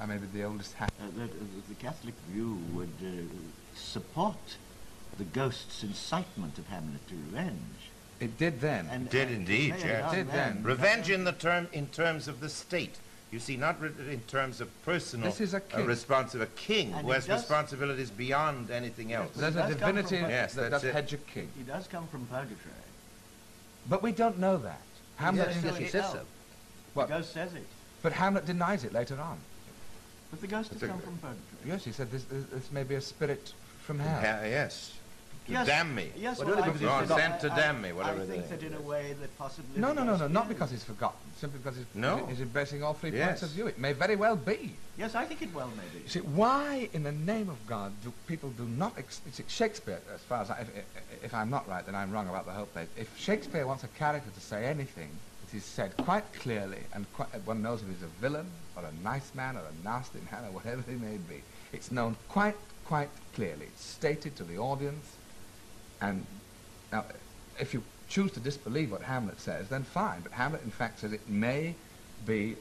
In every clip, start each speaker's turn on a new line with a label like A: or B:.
A: I mean, the oldest house.
B: Uh, the, the Catholic view would uh, support the ghost's incitement of Hamlet to revenge.
A: It did then.
B: And, uh,
C: Did
B: and
C: indeed,
B: to play a
C: yes.
B: young
A: Did
B: man-
A: then.
C: Revenge in the term, in terms of the state. You see, not re- in terms of personal
A: This is a
C: uh,
A: king.
C: response of a king
B: And
C: who
B: it
C: has
B: does-
C: responsibilities beyond anything else.
A: There's a
B: That's come
A: divinity
B: from-
A: in
C: Yes,
A: that,
C: that's
A: that
C: it.
A: hedge of king.
B: He does come from purgatory.
A: But we don't know that. Hamlet,
B: Yes,
A: didn't-
B: so he does.
A: What?
B: The ghost says it.
A: but Hamlet denies it later on.
B: But the ghost has
C: That's a-
B: come from purgatory.
A: Yes, he said this, this, this may be a spirit from
C: Uh,
A: hell.
C: yes. To
B: Yes,
C: damn me.
B: Yes,
C: Well,
B: well,
C: don't
B: I
C: even-
B: think
C: God
B: that-
C: sent
B: I-
C: to
B: I-
C: damn me, whatever
B: I
C: the-
B: think that in a way that possibly...
A: No,
B: the
A: no, no, no,
B: ghost
A: not
B: is.
A: because he's forgotten, simply because he's,
C: No.
A: he's embracing all three points
C: Yes.
A: of view. It may very well be.
B: Yes, I think it well may be.
A: You see, why in the name of God do people do not... Ex- you see, Shakespeare, as far as I... If, if- if I'm not right, then I'm wrong about the whole thing. If Shakespeare wants a character to say anything, it is said quite clearly, and quite, one knows if he's a villain, or a nice man, or a nasty man, or whatever he may be. It's known quite, quite clearly. It's stated to the audience, and now, if you choose to disbelieve what Hamlet says, then fine. But Hamlet, in fact, says it may be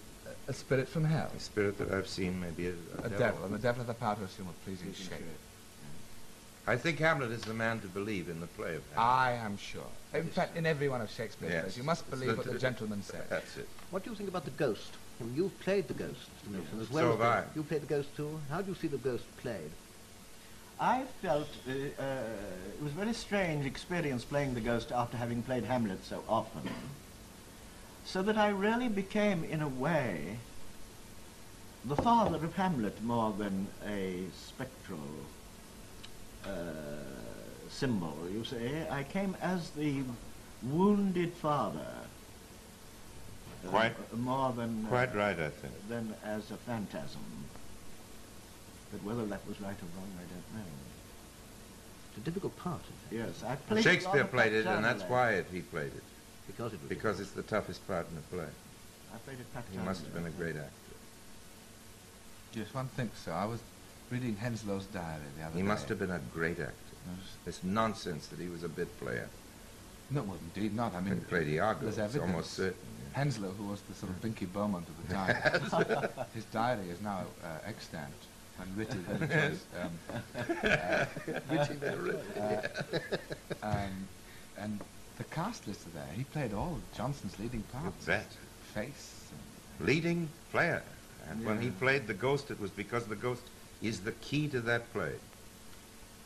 A: a- a spirit from hell,
C: The spirit that I've seen may be a,
A: a devil, and the devil has the power to assume a pleasing
B: Pleasing
A: shape.
B: shape.
C: I think Hamlet is the man to believe in the play of Hamlet.
A: I am sure. In fact, in every one of Shakespeare's plays, Ah, you must
C: It's
A: believe what the gentleman says.
C: That's it.
D: What do you think about the ghost? I mean, You've played the ghost, Mr. Milton, as
C: So
D: well as
C: have
D: the-
C: I.
D: You played the ghost too. How do you see the ghost played?
B: I felt uh, uh, it was a very strange experience playing the ghost after having played Hamlet so often. So that I really became, in a way, the father of Hamlet more than a spectral uh, symbol, you see. I came as the wounded father. uh,
C: Quite-
B: more than... uh,
C: Quite right, I think.
B: than as a phantasm. But whether that was right or wrong, I don't know.
D: It's a difficult part, in fact,
B: Yes, I played a
C: Shakespeare
B: lot of
C: played it, and that's
B: Paterno.
C: why it, he played it.
D: because it was
C: Because it's the toughest part in the play.
B: I played it
C: He
B: Paterno.
C: must have been a great actor.
A: Yes, one thinks so. I was reading Henslow's diary the other day.
C: He must have been a great actor.
A: I was-
C: It's nonsense that he was a bit player.
A: No, well, indeed not. I
C: I mean,
A: mean,
C: played Iago.
A: there's
C: It's
A: evidence.
C: almost certain. yeah.
A: Henslow, who was the sort of Binky Beaumont of the time, his diary is now uh, extant. And witty than it was, um, uh, uh, um, and the cast list are there. He played all of Johnson's leading parts.
C: bet.
A: Face.
C: Leading player. And when he
A: Yeah.
C: played the ghost, it was because the ghost is the key to that play.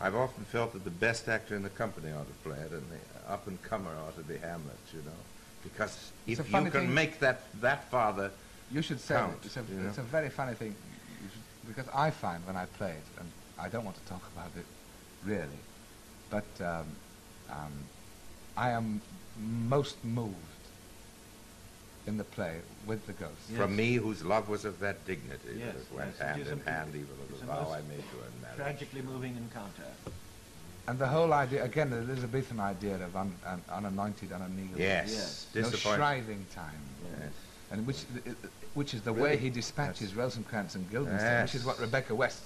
C: I've often felt that the best actor in the company ought to play it, and the up-and-comer ought to be Hamlet, you know, because
A: It's a
C: if
A: funny
C: you can
A: thing.
C: make that that father,
A: You should say that.
C: Count,
A: It's a,
C: you know.
A: it's a very funny thing. You should, because I find when I play it, and I don't want to talk about it, really, but um, um, I am most moved in the play with the ghost.
C: from me, whose love was of that dignity
B: Yes,
C: that went
B: yes, it
C: hand
B: is
C: in
B: a-
C: hand, even
B: it's
C: with the
B: a
C: vow
B: most
C: I made to her marriage.
B: Tragically moving encounter.
A: And the whole idea, again, the Elizabethan idea of un, un, unanointed, unannealed.
C: Yes,
A: No
C: disappointing.
A: shriving time.
C: Yes.
A: And which, i- i- which is the way
C: Really?
A: he dispatches Rosencrantz and Guildenstern, which is what
C: Yes.
A: Rebecca West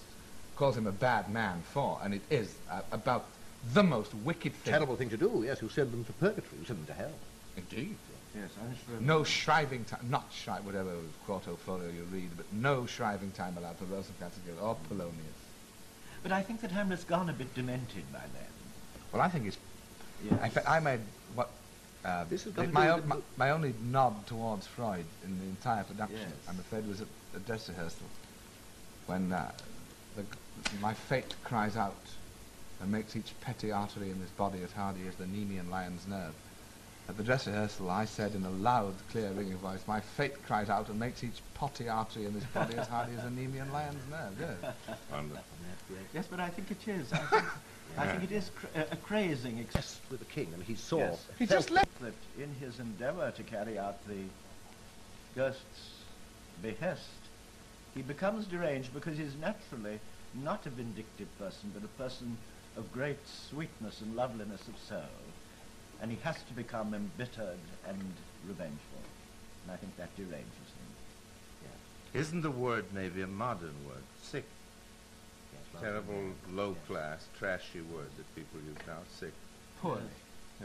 A: calls him a bad man for. And it is uh, about the most wicked
D: a
A: thing.
D: terrible thing to do. Yes, you send them to purgatory. You send them to hell.
A: Indeed.
B: Yes, I'm sure.
A: No shriving time, not shri whatever quarto folio you read, but no shriving time allowed for Rosencrantz and Guildenstern or Polonius.
B: But I think that Hamlet's gone a bit demented by then.
A: Well, I think it's
B: Yes.
A: In fact, I made what uh,
D: This has
A: the-
D: got to
A: my,
D: do
A: o-
D: with
A: my,
D: the-
A: my only nod towards Freud in the entire production.
B: Yes.
A: I'm afraid was at a dress rehearsal when uh, the, g- my fate cries out and makes each petty artery in this body as hardy as the Nemean lion's nerve. At the dress rehearsal, I said in a loud, clear, ringing voice, "My fate cries out and makes each potty artery in this body as hardy as the Nemean lion's nerve." Yes.
C: Wonderful.
B: Yes, but I think it is. I think, I think it is cr- a, a crazing ex-
D: Yes, with the king. I mean, he saw.
B: Yes.
A: He just left.
B: that in his endeavor to carry out the ghost's behest, he becomes deranged because he's naturally not a vindictive person, but a person of great sweetness and loveliness of soul. And he has to become embittered and revengeful. And I think that deranges him.
C: Isn't the word maybe a modern word? Sick.
D: Yes, well, mm,
C: Terrible, low-class, trashy word that people use now. Sick.
B: Poorly.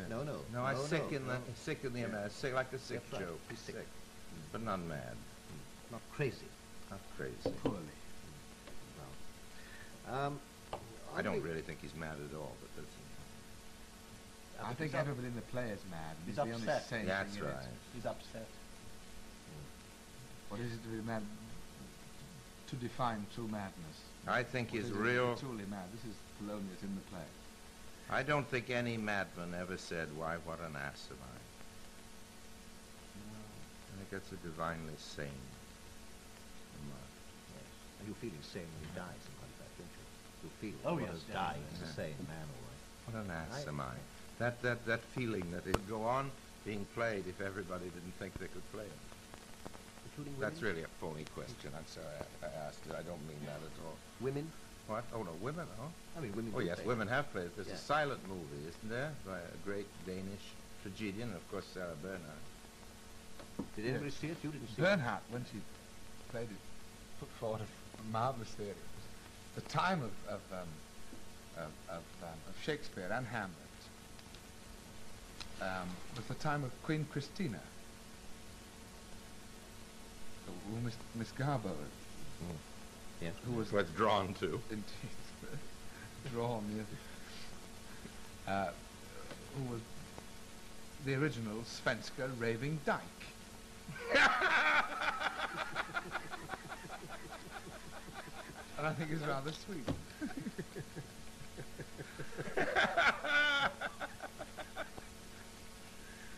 D: No, no.
C: No, I
D: no,
C: sick
D: no,
C: in
D: no.
C: the sick in the America. Sick like a sick
D: That's right.
C: joke.
D: He's sick.
C: but not mad.
D: Not crazy.
C: Not crazy.
B: Poorly.
D: Um,
C: I don't
D: think-
C: really think he's mad at all, but that's,
A: I
B: but
A: think
B: he's up-
A: everybody in the play is mad. and
B: he's
A: He's, the only
B: upset.
A: sane
C: that's
A: thing in it.
C: right.
B: He's upset.
A: What is it to be mad? To define true madness.
C: I think
A: What
C: he's
A: is it to be
C: real.
A: Truly mad. This is Polonius in the play.
C: I don't think any madman ever said, why, what an ass am I? I think that's a divinely sane remark.
D: And you feel he's sane when he dies, in fact, don't you? You feel
B: Oh,
D: what
B: yes,
D: has
B: yeah.
D: died is
C: Yeah.
D: a sane man, all right.
C: What an ass
D: I-
C: am I? That, that, that feeling that it would go on being played if everybody didn't think they could play it.
D: Including
C: That's
D: women?
C: really a phony question. I'm sorry I, I asked it. I don't mean that at all.
D: Women?
C: What? Oh, no, women, oh?
D: I mean, women.
C: Oh,
D: do
C: yes,
D: play.
C: women have played. There's
D: Yeah.
C: a silent movie, isn't there, by a great Danish tragedian, of course, Sarah Bernhardt.
D: Did anybody see it? You didn't see it.
A: Bernhardt, when she played it, put forward a marvelous theory. The time of of, um, of, of, um, of Shakespeare and Hamlet um, was the time of Queen Christina, who Miss, Miss Garbo
D: Hmm. Yeah.
A: who was
C: What's drawn to.
A: indeed drawn, yes. Uh, who was the original Svenska Raving Dyke. and I think it's rather sweet.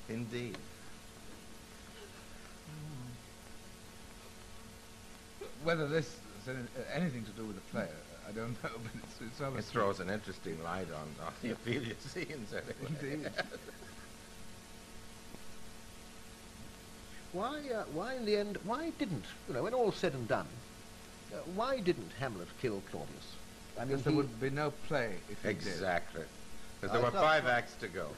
C: Indeed.
A: Whether this has any- uh, anything to do with the player, I don't know, but it's, it's rather
C: It
A: sweet.
C: throws an interesting light on, on the Ophelia scenes, anyway.
A: Indeed.
D: Why, uh, why in the end, why didn't, you know, when all's said and done, uh, why didn't Hamlet kill Claudius? I mean,
A: Because there
D: he-
A: would be no play if he did.
C: Exactly. Because
D: I
C: there were
D: thought
C: five acts to go.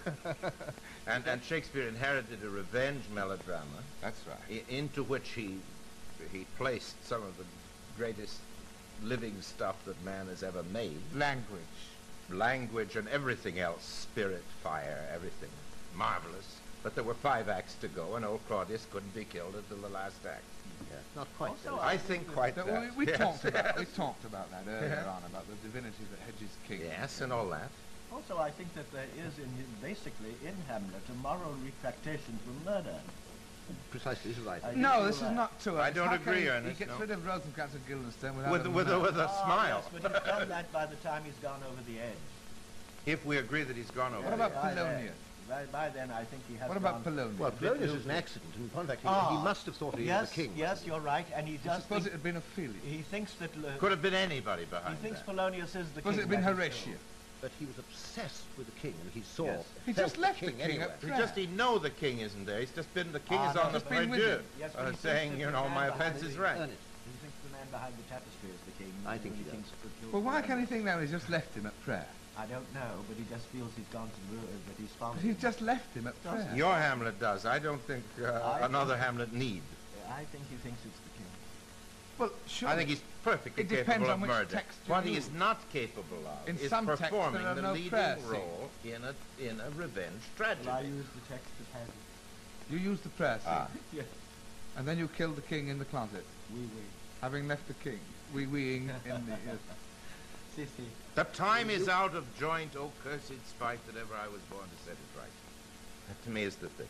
C: and, and Shakespeare inherited a revenge melodrama
A: That's right.
C: i- into which he, he placed some of the greatest living stuff that man has ever made.
A: Language.
C: Language and everything else, spirit, fire, everything. Marvelous. But there were five acts to go, and old Claudius couldn't be killed until the last act.
D: not quite.
B: Also,
D: though.
C: I think quite
A: That-
C: that.
A: we we
C: yes.
A: talked about we talked about that earlier
C: Yeah.
A: on about the divinity that hedges kings.
C: Yes, and all that.
B: Also, I think that there is in his, basically in Hamlet a moral retractation from murder.
D: precisely, this is right.
B: I-
A: No,
B: do
A: this is
B: that.
A: not true.
C: I
A: It's
C: don't
A: how can
C: agree,
A: he- He
C: Ernest,
A: gets
C: no.
A: rid of Rosencrantz and Guildenstern without Oh,
C: With,
A: a
C: with, a,
A: murmur.
C: with a
B: Ah,
C: smile.
B: Yes, but he's done that by the time he's gone over the edge.
C: If we agree that he's gone over
A: What
C: the
A: about
B: by, then,
A: Polonius?
B: by, by then, I think he has
A: What about
B: gone-
A: Polonius?
D: Well, Polonius is an
B: Lucy.
D: accident. In point of fact, he,
B: Ah.
D: he must have thought he was
B: Yes,
D: the king.
B: yes, you're right, and he
A: I
B: does.
A: suppose it
B: think-
A: had been Ophelia.
B: he thinks that. uh,
C: Could have been anybody
B: he
C: behind
B: thinks
C: that.
B: Polonius is the
A: Suppose it
B: king.
A: had been
B: that is
A: Horatio.
B: true.
D: But he was obsessed with the king, and he saw.
B: Yes.
A: He
D: felt
A: just left the king
D: anyway.
A: at-
C: He just he know the king isn't there. He's just been the king
B: Ah,
C: is
B: no,
C: on the
B: he's been
A: with
C: prie-dieu,
A: him.
B: Yes, but
C: uh,
B: he thinks
C: saying
B: that
C: you
B: the
C: know
B: man
C: my
B: behind
C: offense
B: the-
C: is right.
D: Ernest,
B: He thinks the man behind the tapestry is the king.
D: I
B: and
D: think he does.
B: thinks that he'll
A: Well, why can
B: kill
A: he
B: Polonius.
A: think that? He's just left him at prayer.
B: I don't know, but he just feels he's gone to the ruin, but he's found.
A: But he's
B: him.
A: just left him at prayer.
C: Your Hamlet does. I don't think uh,
B: I-
C: another Hamlet need.
B: I think he thinks it's the king.
A: Well, sure.
C: I think he's perfectly
A: It depends
C: capable
A: on
C: of
A: which
C: murder.
A: text you
C: what he
A: use.
C: is not capable of
A: In
C: is
A: some texts there
C: performing
A: are
C: the
A: no
C: leading
A: prayer
C: role in a in a revenge
B: Well, I
C: tragedy.
B: use the text that has it.
A: You used the prayer scene,
C: Ah.
B: Yes,
A: and then you killed the king in the closet,
B: we we.
A: having left the king, wee weeing in the. uh, yes.
B: See, see.
C: The time is out of joint, oh cursed spite that ever I was born to set it right. That to me is the thing.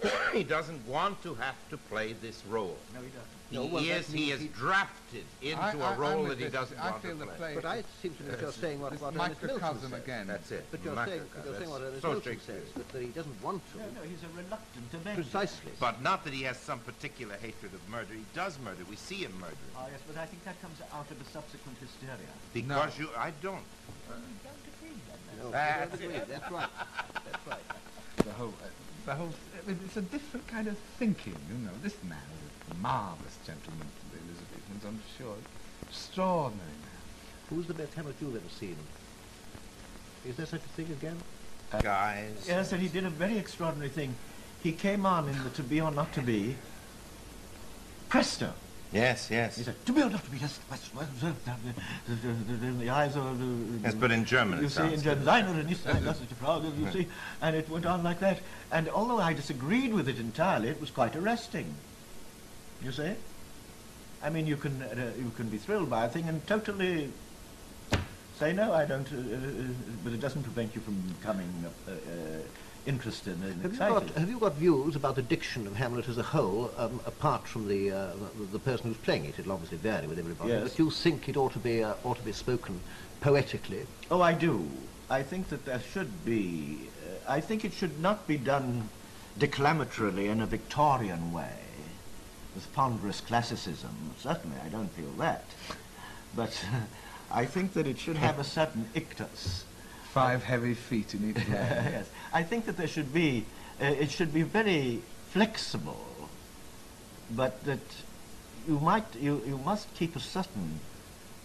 C: he doesn't want to have to play this role.
B: No, he doesn't.
C: He
D: No, well, that
C: is he
D: means
C: is
D: he-
C: drafted into
A: I- I-
C: a
A: I'm
C: role
A: with
C: that he
A: this.
C: doesn't
A: I
C: want
A: feel
C: to
A: the
C: play.
A: play-
D: But I, it seems to me that you're saying what,
A: This
D: what Ernest Milton
A: microcosm
D: said.
A: again.
C: That's it.
D: But you're saying,
C: Macroca,
D: you're saying
C: that's
D: what Ernest
C: so
D: Milton
C: Shakespeare.
D: says, that, that he doesn't want to.
B: No, no, he's a reluctant to bend.
D: Precisely.
C: But not that he has some particular hatred of murder. He does murder. We see him murdering.
B: Ah, yes, but I think that comes out of a subsequent hysteria.
C: Because you, I don't.
D: No,
C: That's
D: that's, right. that's right. That's right.
A: the whole, uh, the whole. I mean, it's a different kind of thinking, you know. This man is a marvelous gentleman to the Elizabethans, I'm sure. Extraordinary man.
D: Who's the best Hamlet you've ever seen? Is there such a thing again?
C: Guys.
B: Yes, and he did a very extraordinary thing. He came on in the To Be or Not To Be. Presto!
C: Yes,
B: He
C: yes.
B: said, To Be or Not To Be, yes, that's what- in the eyes of... the-
C: Yes, but in German
B: You
C: it
B: see, in
C: sounds.
B: German, "Leiner and Nistein, das ist die Frage," you see, and it went on like that. And although I disagreed with it entirely, it was quite arresting. You see? I mean, you can uh, you can be thrilled by a thing and totally say no, I don't. Uh, uh, uh," but it doesn't prevent you from becoming uh, uh, interested and
D: Have you,
B: excited.
D: got, have you got views about the diction of Hamlet as a whole, um, apart from the, uh, the the person who's playing it? It'll obviously vary with everybody.
B: Yes.
D: But you think it ought to be uh, ought to be spoken poetically?
B: Oh, I do. I think that there should be. Uh, I think it should not be done declamatorily in a Victorian way, with ponderous classicism. Certainly, I don't feel that. But I think that it should have a certain ictus.
A: Five heavy feet in each leg.
B: yes. I think that there should be. Uh, it should be very flexible, but that you might you, you must keep a certain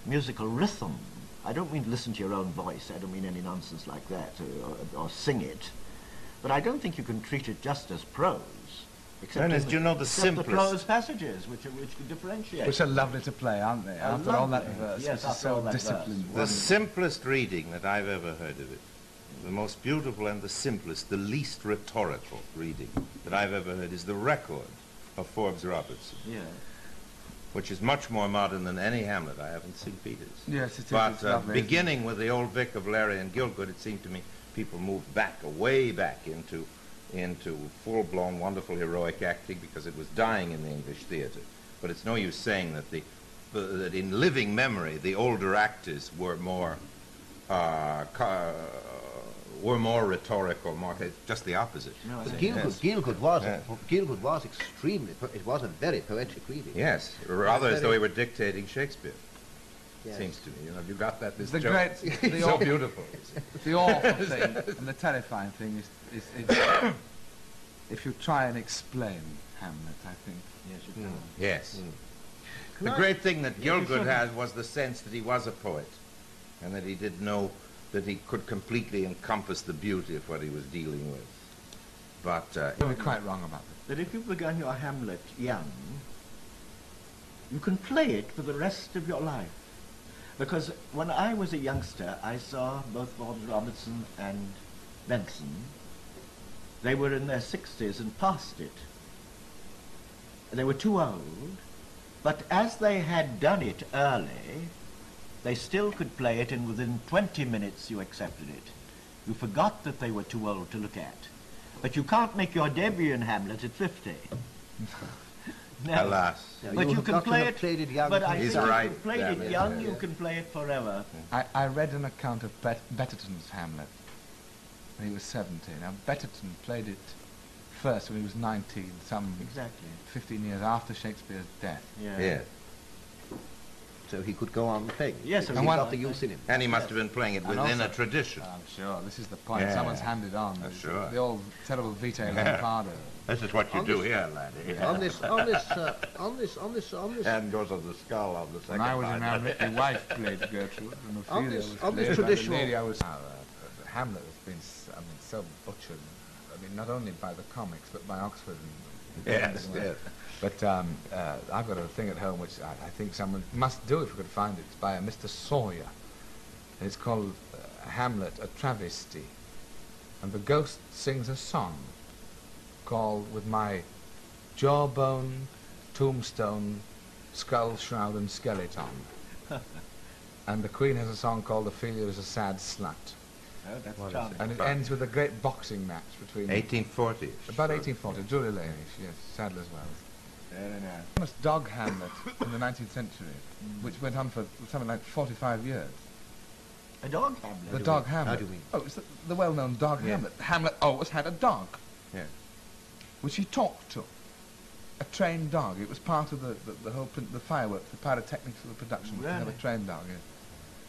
B: musical rhythm. I don't mean listen to your own voice. I don't mean any nonsense like that, or, or, or sing it. But I don't think you can treat it just as prose. Except
C: Ernest,
B: in
C: you know the
B: except
C: simplest-
B: prose passages, which are, which differentiate.
A: Which are lovely to play, aren't they?
B: Are
A: After all that
B: lovely.
A: verse,
B: Yes,
A: which is
B: after all
A: so
B: that verse.
A: disciplined.
C: The simplest reading that I've ever heard of it, the most beautiful and the simplest, the least rhetorical reading that I've ever heard is the record of Forbes Robertson,
B: yeah.
C: which is much more modern than any Hamlet I haven't seen Peters.
A: Yes, it is.
C: But
A: it's
C: uh,
A: lovely, isn't it?
C: beginning with the old Vic of Larry and Gilgood, it seemed to me people moved back, uh, way back into into full-blown, wonderful heroic acting because it was dying in the English theater. But it's no use saying that the that in living memory the older actors were more uh, ca- were more rhetorical, more just the opposite.
B: No, I
D: But
B: think-
D: Gielgud,
C: yes.
D: Gielgud was
C: Yes.
D: Gielgud was extremely. Po- it was a very poetic reading.
C: Yes, rather as
D: very-
C: though he were dictating Shakespeare.
D: Yes.
C: Seems to me, you know, have you got that? This
A: The
C: joke?
A: great- the
C: so
A: old-
C: beautiful. you see.
A: The awful thing and the terrifying thing is, is, is if you try and explain Hamlet, I think.
B: Yes, you
C: Mm,
B: can.
C: Yes.
D: Can
C: The
D: I-
C: great thing that
B: you
C: Gilgood
B: shouldn't.
C: had was the sense that he was a poet and that he did know that he could completely encompass the beauty of what he was dealing with. But uh,
A: You were quite wrong about this.
B: that if you've begun your Hamlet young, you can play it for the rest of your life. Because when I was a youngster, I saw both Forbes Robertson and Benson. They were in their 60s and past it. They were too old, but as they had done it early, they still could play it, and within 20 minutes you accepted it. You forgot that they were too old to look at. But you can't make your debut in Hamlet at 50. No.
C: alas,
D: No,
B: But
D: you
B: you,
D: have
B: can
D: got to
B: play
D: have
B: it.
D: played it young
B: but I
D: from
B: think
C: He's
D: the
B: if
C: right,
B: you played
C: yeah,
B: it
C: yeah,
B: young,
C: yeah,
B: you
C: yeah.
B: can play it forever.
A: I, I read an account of Bet- Betterton's Hamlet when he was 17. Now, Betterton played it first when he was 19, some
B: Exactly.
A: 15 years after Shakespeare's death.
B: Yeah.
C: yeah.
D: So he could go on playing.
B: Yes,
D: he
B: and
A: one-
D: got the use in him.
C: And he must have been playing it
A: And
C: within a
A: also- uh,
C: tradition.
A: I'm sure, this is the point.
C: Yeah.
A: Someone's handed on
C: Oh,
A: the-
C: sure.
A: the old terrible Vitae Lampada.
C: This is what you
D: On
C: do
D: this-
C: here, laddie.
D: On this, on this, uh, on this, on this, on this,
C: And goes on the skull of the second
A: When I was in
C: time.
A: Hamlet, my wife played Gertrude, and
D: On
A: Ophelia
D: this-
A: was
D: on this
A: played by
D: traditional-
A: The lady I was, uh, uh, Hamlet has been, s- I mean, so butchered. I mean, not only by the comics, but by Oxford. And,
C: Yes,
A: and-
C: yes.
A: But um, uh, I've got a thing at home which I, I think someone must do if we could find it. It's by a Mr. Sawyer. And it's called uh, Hamlet, a Travesty. And the ghost sings a song called With My Jawbone, Tombstone, Skull, Shroud, and Skeleton. and the Queen has a song called Ophelia is a Sad Slut.
B: No, that's
C: What is
B: charming.
A: And it
C: Right.
A: ends with a great boxing match between.
C: 1840.
A: About 1840, Julia Lanish, yes, Sadler's Wells.
B: Very nice.
A: famous dog Hamlet in the 19th century, which went on for something like 45 years.
B: A dog Hamlet.
A: The
D: do
A: dog
D: we- how
A: Hamlet.
D: do we-
A: Oh, it's the, the well-known dog
C: Yeah.
A: Hamlet. Hamlet always had a dog,
C: Yeah.
A: which he talked to. A trained dog. It was part of the, the, the whole prin- the fireworks, the pyrotechnics of the production. was To have a
B: Really?
A: trained dog. Yes.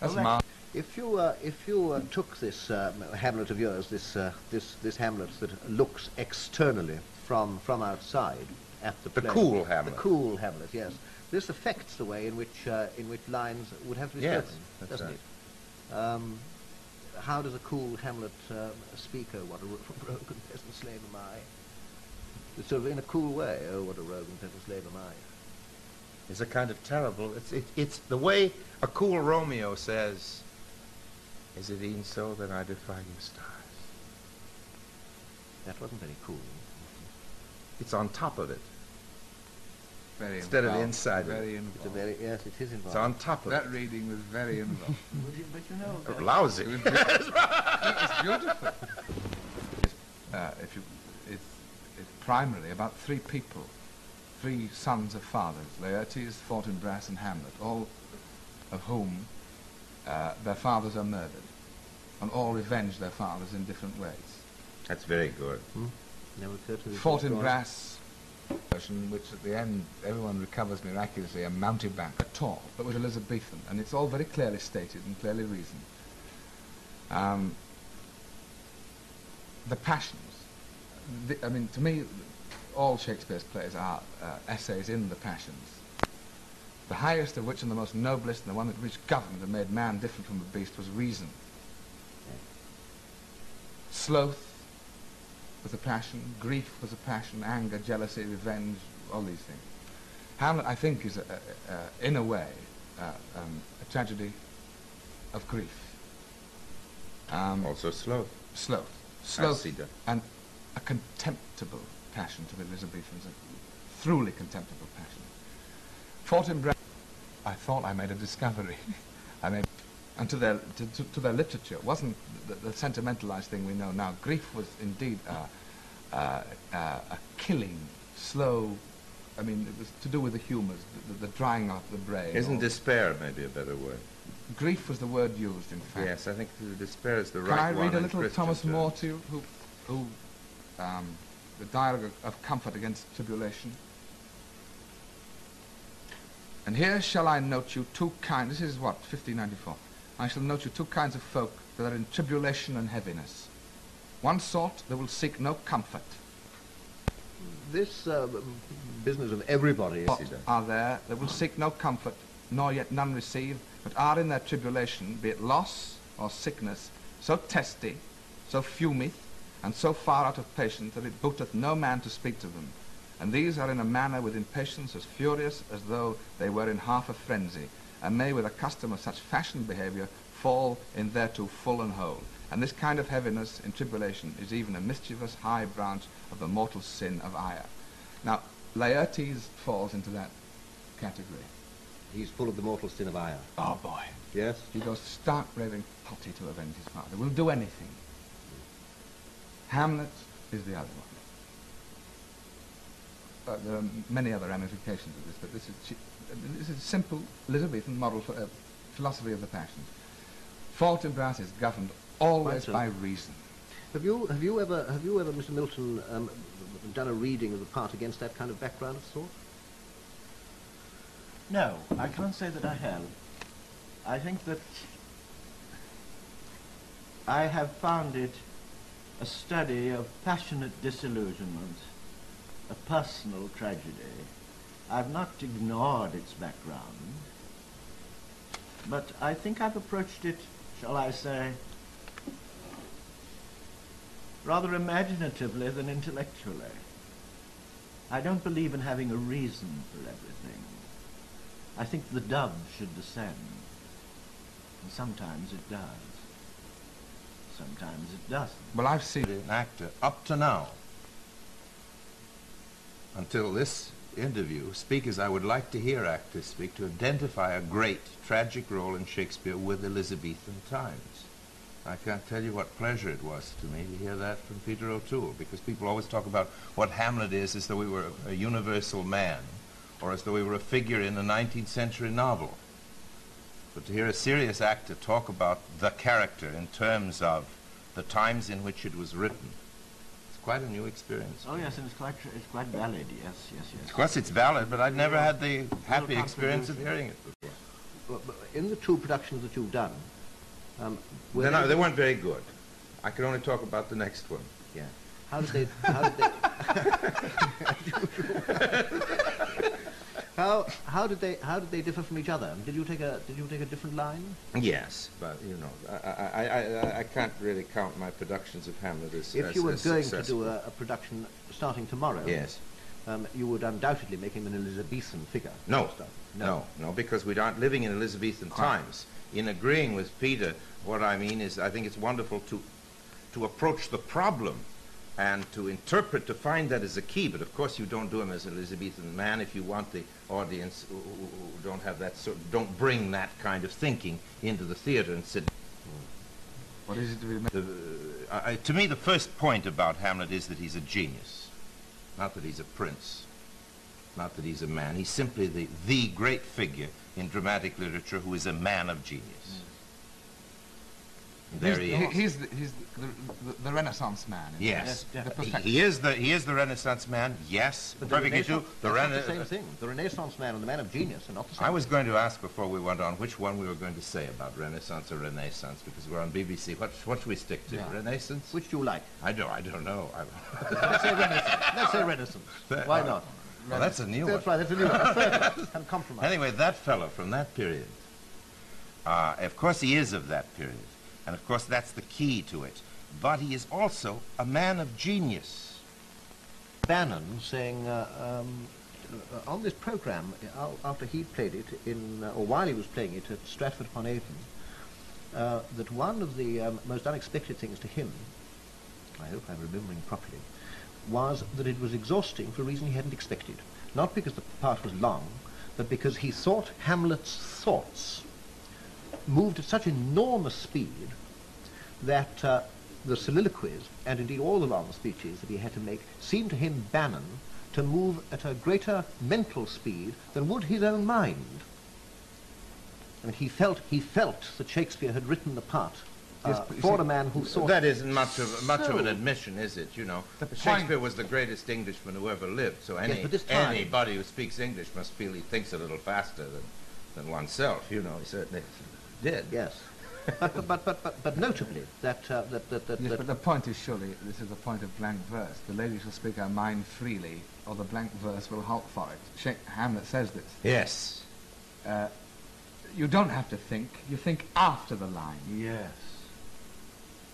A: That's
B: Well, that-
A: mar-
D: If you uh, if you uh, took this uh, Hamlet of yours, this uh, this this Hamlet that looks externally from from outside at the
C: The
D: play,
C: cool Hamlet.
D: the cool Hamlet, yes. This affects the way in which uh, in which lines would have to be
C: Yes,
D: spoken,
C: that's
D: doesn't
C: right.
D: it? Um, how does a cool Hamlet um, speak? Oh, what a ro- rogue and peasant slave am I? It's sort of in a cool way. Oh, what a rogue and peasant slave am I?
C: It's a kind of terrible. It's it, it's the way a cool Romeo says. Is it e'en so that I defy you stars?
D: That wasn't very cool.
C: It's on top of it.
A: very
C: Instead of
A: involved.
C: inside of it.
A: Very
D: It's a
A: involved.
D: very, yes, it is
C: It's
D: involved.
C: on top of
A: That
C: it.
A: reading was very involved.
B: But you, but you know,
C: Uh,
B: uh,
A: it
C: Lousy.
A: was beautiful. it was beautiful. It's, uh, if you, it's, it's primarily about three people, three sons of fathers, Laertes, Fortinbras, and Hamlet, all of whom uh, their fathers are murdered, and all revenge their fathers in different ways.
C: That's very good.
D: Hmm? Never occurred to me before. Go on.
A: Fortinbras version, which at the end everyone recovers miraculously, a mountebank at all, but was Elizabethan, and it's all very clearly stated and clearly reasoned. Um, the passions. The, I mean, to me, all Shakespeare's plays are uh, essays in the passions. The highest of which and the most noblest and the one that which governed and made man different from the beast was reason. Sloth was a passion, grief was a passion, anger, jealousy, revenge, all these things. Hamlet, I think, is, a, a, a, in a way, uh, um, a tragedy of grief. Um,
C: Also slow.
A: sloth.
C: I
A: Sloth
C: see that.
A: and a contemptible passion to the Elizabethans, a truly contemptible passion. Fortinbras, I thought I made a discovery. I mean, and to their, to, to, to their literature, it wasn't the, the sentimentalized thing we know now. Grief was indeed a, a, a, a killing, slow, I mean, it was to do with the humors, the, the, the drying out of the brain.
C: Isn't
A: or-
C: despair maybe a better word?
A: Grief was the word used, in fact.
C: Yes, I think the despair is the
A: Can I
C: right one.
A: read a
C: in
A: little
C: Christian
A: Thomas
C: terms.
A: More to you, who, who, um, the dialogue of, of comfort against tribulation? And here shall I note you two kinds, this is what, 1594. I shall note you two kinds of folk that are in tribulation and heaviness. One sort that will seek no comfort,
D: This um, business of everybody
A: but
D: is
A: are there that will seek no comfort, nor yet none receive, but are in their tribulation, be it loss or sickness, so testy, so fumeth, and so far out of patience that it booteth no man to speak to them. And these are in a manner with impatience as furious as though they were in half a frenzy, and may with a custom of such fashion behaviour fall in thereto full and whole. And this kind of heaviness in tribulation is even a mischievous high branch of the mortal sin of ire. Now, Laertes falls into that category.
D: he's full of the mortal sin of ire.
A: Oh boy.
D: Yes.
A: He goes stark raving potty to avenge his father. Will do anything. Hamlet is the other one. But there are many other ramifications of this, but this is, chi- uh, this is simple Elizabethan model for, uh, philosophy of the passions. Fortinbras is governed always
D: Quite so.
A: by reason.
D: Have you have you ever have you ever, Mr. Milton, um, done a reading of the part against that kind of background of sort?
B: no, I can't say that I have. I think that I have found it a study of passionate disillusionment, a personal tragedy. I've not ignored its background, but I think I've approached it, shall I say, rather imaginatively than intellectually. I don't believe in having a reason for everything. I think the dove should descend. And sometimes it does. Sometimes it doesn't.
A: Well, I've seen
C: an actor up to now, until this interview, speakers I would like to hear actors speak to identify a great tragic role in Shakespeare with Elizabethan times. I can't tell you what pleasure it was to me to hear that from Peter O'Toole, because people always talk about what Hamlet is as though he were a universal man, or as though he were a figure in a 19th century novel. But to hear a serious actor talk about the character in terms of the times in which it was written, it's quite a new experience.
B: Oh yes, and it's quite it's quite valid. Yes, yes,
C: Of
B: yes.
C: course, it's valid, but I've never had the happy
B: Real
C: experience of
B: contribution.
C: hearing it before.
D: But- but In the two productions that you've done, um, were
C: They're not-
D: they-
C: they weren't very good. I can only talk about the next one.
D: yeah. How did they? How did they? how, how did they? How did they differ from each other? Did you take a Did you take a different line?
C: Yes, but you know, I, I, I, I- I can't really count my productions of Hamlet as
D: If
C: as-
D: you were
C: as
D: going to
C: successful.
D: do a, a production starting tomorrow,
C: yes,
D: um, you would undoubtedly make him an Elizabethan figure.
C: no,
D: Start-
C: no, no, because we aren't living in Elizabethan
D: Ah.
C: times. In agreeing with Peter, what I mean is, I think it's wonderful to to approach the problem and to interpret, to find that is a key. But of course, you don't do him as an Elizabethan man if you want the audience who, who- who don't have that sort, don't bring that kind of thinking into the theater and sit.
A: What is it to be made?
C: The, I, I- to me, the first point about Hamlet is that he's a genius, not that he's a prince, not that he's a man. He's simply the the great figure in dramatic literature who is a man of genius. There he is.
A: Mm. he's, he's, the, he's the, the, the, the Renaissance man. isn't he?
C: Yes.
B: Yes,
A: The
C: He-
A: perfect-
C: He is the he is the Renaissance man. Yes,
D: But
C: perfectly true.
D: Renaissance-
C: The
D: that's
C: Rena-
D: not the same thing. The Renaissance man and the man of genius are not the same.
C: I was going to ask before we went on which one we were going to say about Renaissance or Renaissance because we're on BBC. What what should we stick to?
A: Yeah.
C: Renaissance?
D: Which do you like?
C: I don't I don't know. I,
D: Let's say Renaissance. Let's say Renaissance. Why not?
C: well, that's a new one.
D: That's right. That's a new one. That's fair enough. Can compromise.
C: Anyway, that fellow from that period. Uh, of course, he is of that period, and of course that's the key to it. But he is also a man of genius.
D: Bannon saying uh, um, uh, on this program uh, after he played it in, uh, or while he was playing it at Stratford upon Avon, uh, that one of the um, most unexpected things to him, I hope I'm remembering properly, was that it was exhausting for a reason he hadn't expected. Not because the part was long, but because he thought Hamlet's thoughts moved at such enormous speed that uh, the soliloquies, and indeed all the long speeches that he had to make, seemed to him Bannon to move at a greater mental speed than would his own mind. I mean, he felt he felt that Shakespeare had written the part uh,
A: Yes, but you
D: for
A: see,
D: a man who thought
C: That isn't much of much of an
D: So-
C: admission, is it? You know,
A: The
C: Shakespeare
A: point-
C: was the greatest Englishman who ever lived. So any
D: but this time-
C: anybody who speaks English must feel he thinks a little faster than than oneself. You know, he certainly did.
D: Yes, but, but, but, but, but, but notably that, uh, that that that,
A: Yes,
D: that
A: but the point is surely, this is the point of blank verse. The lady shall speak her mind freely, or the blank verse will halt for it. Shak- Hamlet says this.
C: Yes.
A: Uh, you don't have to think. You think after the line,
B: Yes.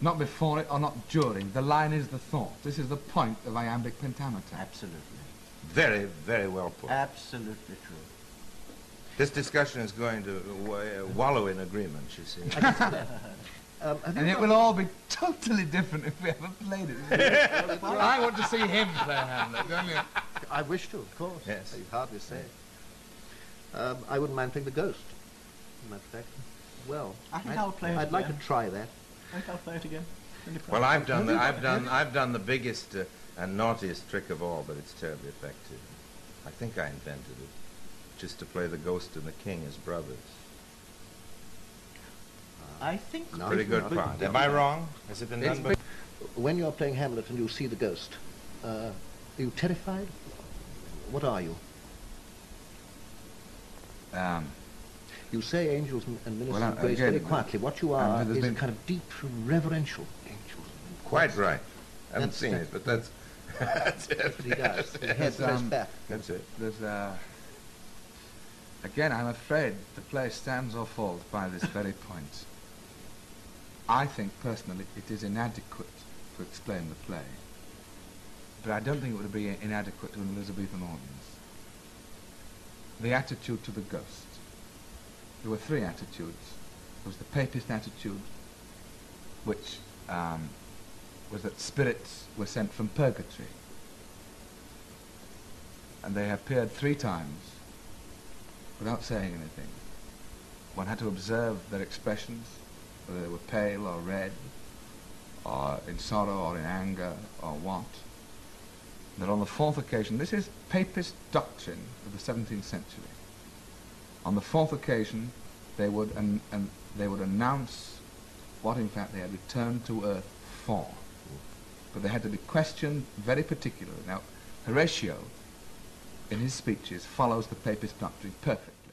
A: not before it or not during. The line is the thought. This is the point of iambic pentameter.
B: Absolutely.
C: Very, very well put.
D: Uh,
B: Absolutely true.
C: this discussion is going to wa- wallow in agreement, you see.
D: um, have you
A: And it
D: got-
A: will all be totally different if we ever played it. I want to see him play Hamlet, don't you?
D: I wish to, of course.
C: Yes.
D: You'd hardly say. Um, I wouldn't mind playing the ghost. In that fact, well,
B: I think
D: I'd,
B: I'll play it
D: I'd like to
B: again.
D: try that.
B: Think I'll play it again. Any problem?
C: well, I've done the, I've done I've done the biggest uh, and naughtiest trick of all, but it's terribly effective. I think I invented it, just to play the ghost and the king as brothers.
B: I think.
D: No,
C: Pretty
D: it's
C: good
D: not.
C: part. Am I wrong? Has it been
A: It's
C: done? before?
D: When you're playing Hamlet and you see the ghost, uh, are you terrified? What are you?
A: Um,
D: You say angels and, and ministers
A: Well,
D: of
A: I-
D: grace very
A: again,
D: quietly. What you
A: and
D: are
A: there's
D: is a
A: been-
D: kind of deep reverential.
C: Quite right. I haven't
D: That's-
C: seen it,
D: that's-
C: but that's that's it.
D: That's what he does. He head
A: Yes,
D: pressed
A: um,
D: back.
C: That's it.
A: There's uh, again, I'm afraid the play stands or falls by this very point. I think personally it is inadequate to explain the play, but I don't think it would be inadequate to an Elizabethan audience. The attitude to the ghost. There were three attitudes. There was the papist attitude, which um, was that spirits were sent from purgatory and they appeared three times without saying anything. One had to observe their expressions, whether they were pale or red, or in sorrow or in anger or what. And then on the fourth occasion, this is papist doctrine of the 17th century. On the fourth occasion, they would, an- an- they would announce what in fact they had returned to earth for. But they had to be questioned very particularly. Now, Horatio, in his speeches follows the papist doctrine perfectly.